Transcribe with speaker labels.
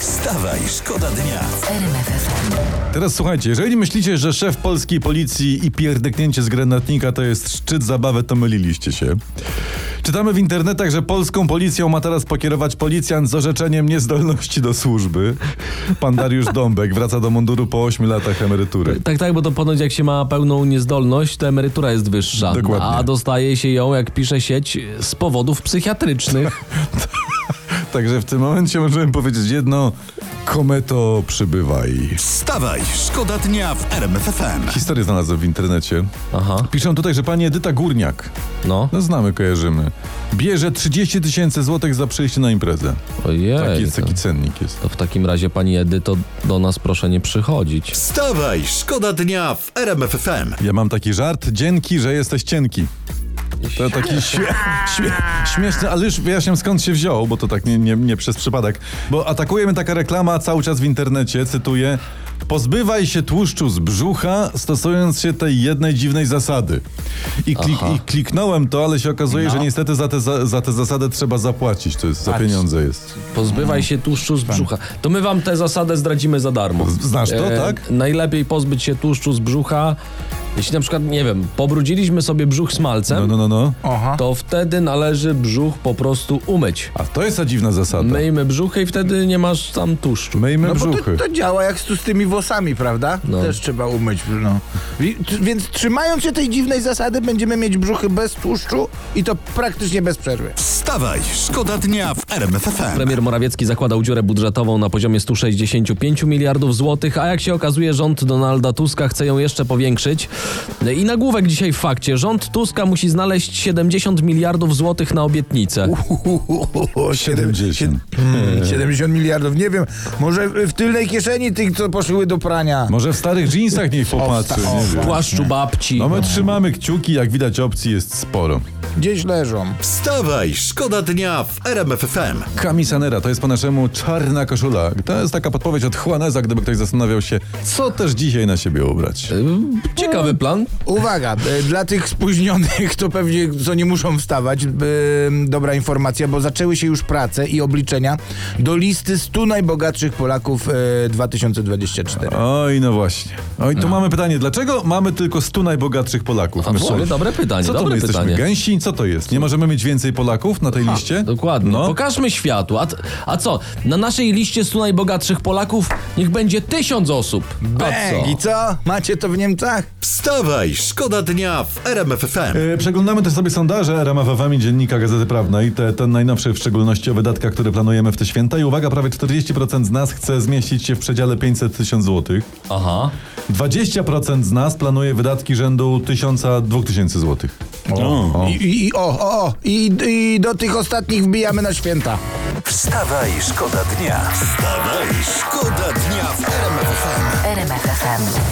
Speaker 1: Wstawaj, szkoda dnia.
Speaker 2: Teraz słuchajcie, jeżeli myślicie, że szef polskiej policji i pierdyknięcie z granatnika to jest szczyt zabawy, to myliliście się. Czytamy w internetach, że polską policją ma teraz pokierować policjant z orzeczeniem niezdolności do służby. Pan Dariusz Dąbek wraca do munduru po 8 latach emerytury.
Speaker 3: Tak, tak, bo to ponoć jak się ma pełną niezdolność, to emerytura jest wyższa.
Speaker 2: Dokładnie.
Speaker 3: A dostaje się ją, jak pisze sieć, z powodów psychiatrycznych.
Speaker 2: Także w tym momencie możemy powiedzieć jedno, kometo przybywaj.
Speaker 1: Wstawaj, szkoda dnia w RMFFM.
Speaker 2: Historię znalazłem w internecie.
Speaker 3: Aha,
Speaker 2: Piszą tutaj, że pani Edyta Górniak,
Speaker 3: no.
Speaker 2: no znamy, kojarzymy, bierze 30 tysięcy złotych za przyjście na imprezę.
Speaker 3: Ojej.
Speaker 2: Taki Tak jest,
Speaker 3: to,
Speaker 2: taki cennik jest.
Speaker 3: to w takim razie, pani Edyto, do nas proszę nie przychodzić.
Speaker 1: Wstawaj, szkoda dnia w RMFFM.
Speaker 2: Ja mam taki żart, dzięki, że jesteś cienki. To taki śmie śmie śmieszny, ale już wyjaśniam skąd się wziął, bo to tak nie, nie, nie przez przypadek. Bo atakuje mnie taka reklama cały czas w internecie, cytuję. Pozbywaj się tłuszczu z brzucha, stosując się tej jednej dziwnej zasady. I, klik, i kliknąłem to, ale się okazuje,
Speaker 4: No.
Speaker 2: że niestety za tę za, za te zasadę trzeba zapłacić. To jest, za pieniądze jest.
Speaker 3: Pozbywaj się tłuszczu z brzucha. To my wam tę zasadę zdradzimy za darmo.
Speaker 2: Tak.
Speaker 3: E,
Speaker 2: Z- znasz to, tak?
Speaker 3: Najlepiej pozbyć się tłuszczu z brzucha. Jeśli na przykład, nie wiem, pobrudziliśmy sobie brzuch smalcem,
Speaker 2: No, no, no, no.
Speaker 3: to wtedy należy brzuch po prostu umyć.
Speaker 2: A to jest ta dziwna zasada.
Speaker 3: Myjmy brzuchy i wtedy nie masz tam tłuszczu.
Speaker 2: Myjmy
Speaker 4: No bo
Speaker 2: brzuchy.
Speaker 4: to, to działa jak z, z tymi włosami, prawda?
Speaker 3: No.
Speaker 4: Też trzeba umyć. No. Wi- t- Więc trzymając się tej dziwnej zasady, będziemy mieć brzuchy bez tłuszczu i to praktycznie bez przerwy.
Speaker 1: Wstawaj, szkoda dnia w RMFFM.
Speaker 3: Premier Morawiecki zakładał dziurę budżetową na poziomie 165 miliardów złotych, a jak się okazuje, rząd Donalda Tuska chce ją jeszcze powiększyć. I nagłówek dzisiaj w fakcie: rząd Tuska musi znaleźć 70 miliardów złotych na obietnicę.
Speaker 4: Uhuhuhu, siedem-
Speaker 2: 70.
Speaker 4: Mm, 70 miliardów, nie wiem. Może w tylnej kieszeni tych, co poszły do prania.
Speaker 2: Może w starych dżinsach niech popatrzy.
Speaker 4: o,
Speaker 2: nie wiem.
Speaker 3: W płaszczu babci.
Speaker 2: No my trzymamy kciuki, jak widać opcji jest sporo.
Speaker 4: Gdzieś leżą.
Speaker 1: Wstawaj, szkoda dnia w RMFFM.
Speaker 2: Kamisanera to jest po naszemu czarna koszula. To jest taka podpowiedź od Juaneza, gdyby ktoś zastanawiał się, co też dzisiaj na siebie ubrać.
Speaker 3: Ciekawy plan.
Speaker 4: Uwaga, e, dla tych spóźnionych, to pewnie co nie muszą wstawać, e, dobra informacja, bo zaczęły się już prace i obliczenia do listy 100 najbogatszych Polaków e, 2024.
Speaker 2: Oj, no właśnie. Oj, tu mamy pytanie, dlaczego mamy tylko 100 najbogatszych Polaków?
Speaker 3: A w sumie
Speaker 2: Myślę,
Speaker 3: No, dobre pytanie,
Speaker 2: Co to
Speaker 3: dobre
Speaker 2: my jesteśmy
Speaker 3: pytanie.
Speaker 2: gęsi? Co to jest? Nie możemy mieć więcej Polaków na tej liście?
Speaker 3: Dokładnie.
Speaker 2: No.
Speaker 3: Pokażmy światu. A, t- a co? Na naszej liście 100 najbogatszych Polaków niech będzie tysiąc osób. A co?
Speaker 4: Bang! I co? Macie to w Niemcach?
Speaker 1: Wstawaj, szkoda dnia w RMFFM.
Speaker 2: E, Przeglądamy też sobie sondaże RMFFM i Dziennika Gazety Prawnej. Te, ten najnowszy w szczególności o wydatkach, które planujemy w te święta. I uwaga, prawie 40% z nas chce zmieścić się w przedziale 500 tysięcy złotych.
Speaker 3: Aha.
Speaker 2: 20% z nas planuje wydatki rzędu 1000-2000 zł. O.
Speaker 4: I, i, i o, o, o. I, I do tych ostatnich wbijamy na święta.
Speaker 1: Wstawaj, szkoda dnia. Wstawaj, szkoda dnia w RMFFM.
Speaker 5: RMFFM.